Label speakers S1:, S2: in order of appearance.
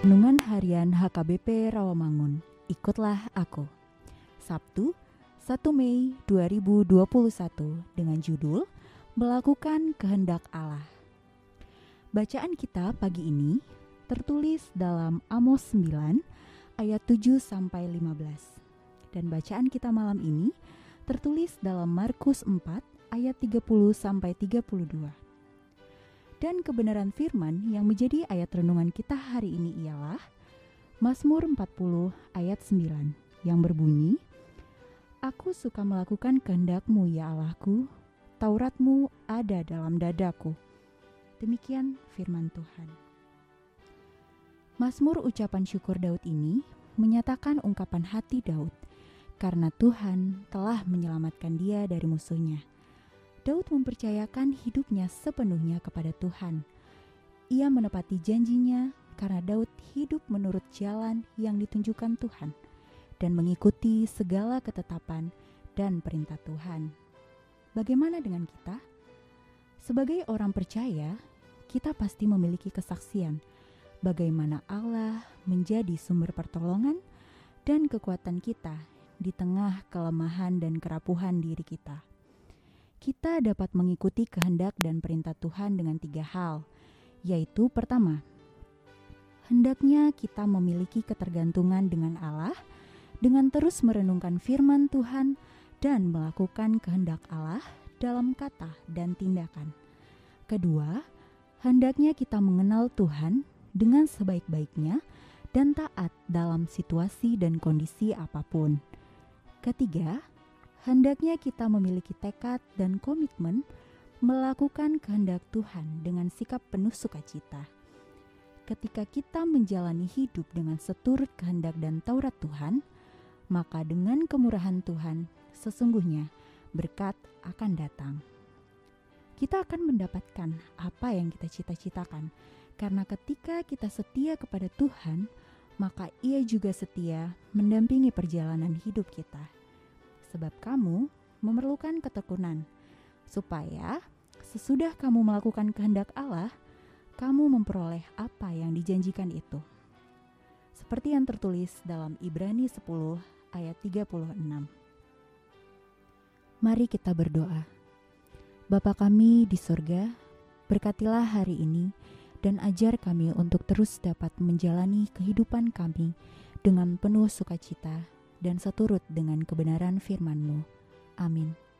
S1: Renungan Harian HKBP Rawamangun. Ikutlah aku. Sabtu, 1 Mei 2021 dengan judul Melakukan Kehendak Allah. Bacaan kita pagi ini tertulis dalam Amos 9 ayat 7 sampai 15. Dan bacaan kita malam ini tertulis dalam Markus 4 ayat 30 sampai 32 dan kebenaran firman yang menjadi ayat renungan kita hari ini ialah Mazmur 40 ayat 9 yang berbunyi Aku suka melakukan kehendakmu ya Allahku, Tauratmu ada dalam dadaku. Demikian firman Tuhan. Mazmur ucapan syukur Daud ini menyatakan ungkapan hati Daud karena Tuhan telah menyelamatkan dia dari musuhnya. Daud mempercayakan hidupnya sepenuhnya kepada Tuhan. Ia menepati janjinya karena Daud hidup menurut jalan yang ditunjukkan Tuhan dan mengikuti segala ketetapan dan perintah Tuhan. Bagaimana dengan kita? Sebagai orang percaya, kita pasti memiliki kesaksian bagaimana Allah menjadi sumber pertolongan dan kekuatan kita di tengah kelemahan dan kerapuhan diri kita kita dapat mengikuti kehendak dan perintah Tuhan dengan tiga hal, yaitu: pertama, hendaknya kita memiliki ketergantungan dengan Allah dengan terus merenungkan firman Tuhan dan melakukan kehendak Allah dalam kata dan tindakan. Kedua, hendaknya kita mengenal Tuhan dengan sebaik-baiknya dan taat dalam situasi dan kondisi apapun. Ketiga, hendaknya kita memiliki tekad dan komitmen melakukan kehendak Tuhan dengan sikap penuh sukacita. Ketika kita menjalani hidup dengan seturut kehendak dan Taurat Tuhan, maka dengan kemurahan Tuhan, sesungguhnya berkat akan datang. Kita akan mendapatkan apa yang kita cita-citakan, karena ketika kita setia kepada Tuhan, maka Ia juga setia mendampingi perjalanan hidup kita sebab kamu memerlukan ketekunan, supaya sesudah kamu melakukan kehendak Allah, kamu memperoleh apa yang dijanjikan itu. Seperti yang tertulis dalam Ibrani 10 ayat 36. Mari kita berdoa. Bapa kami di sorga, berkatilah hari ini dan ajar kami untuk terus dapat menjalani kehidupan kami dengan penuh sukacita dan seturut dengan kebenaran firman-Mu. Amin.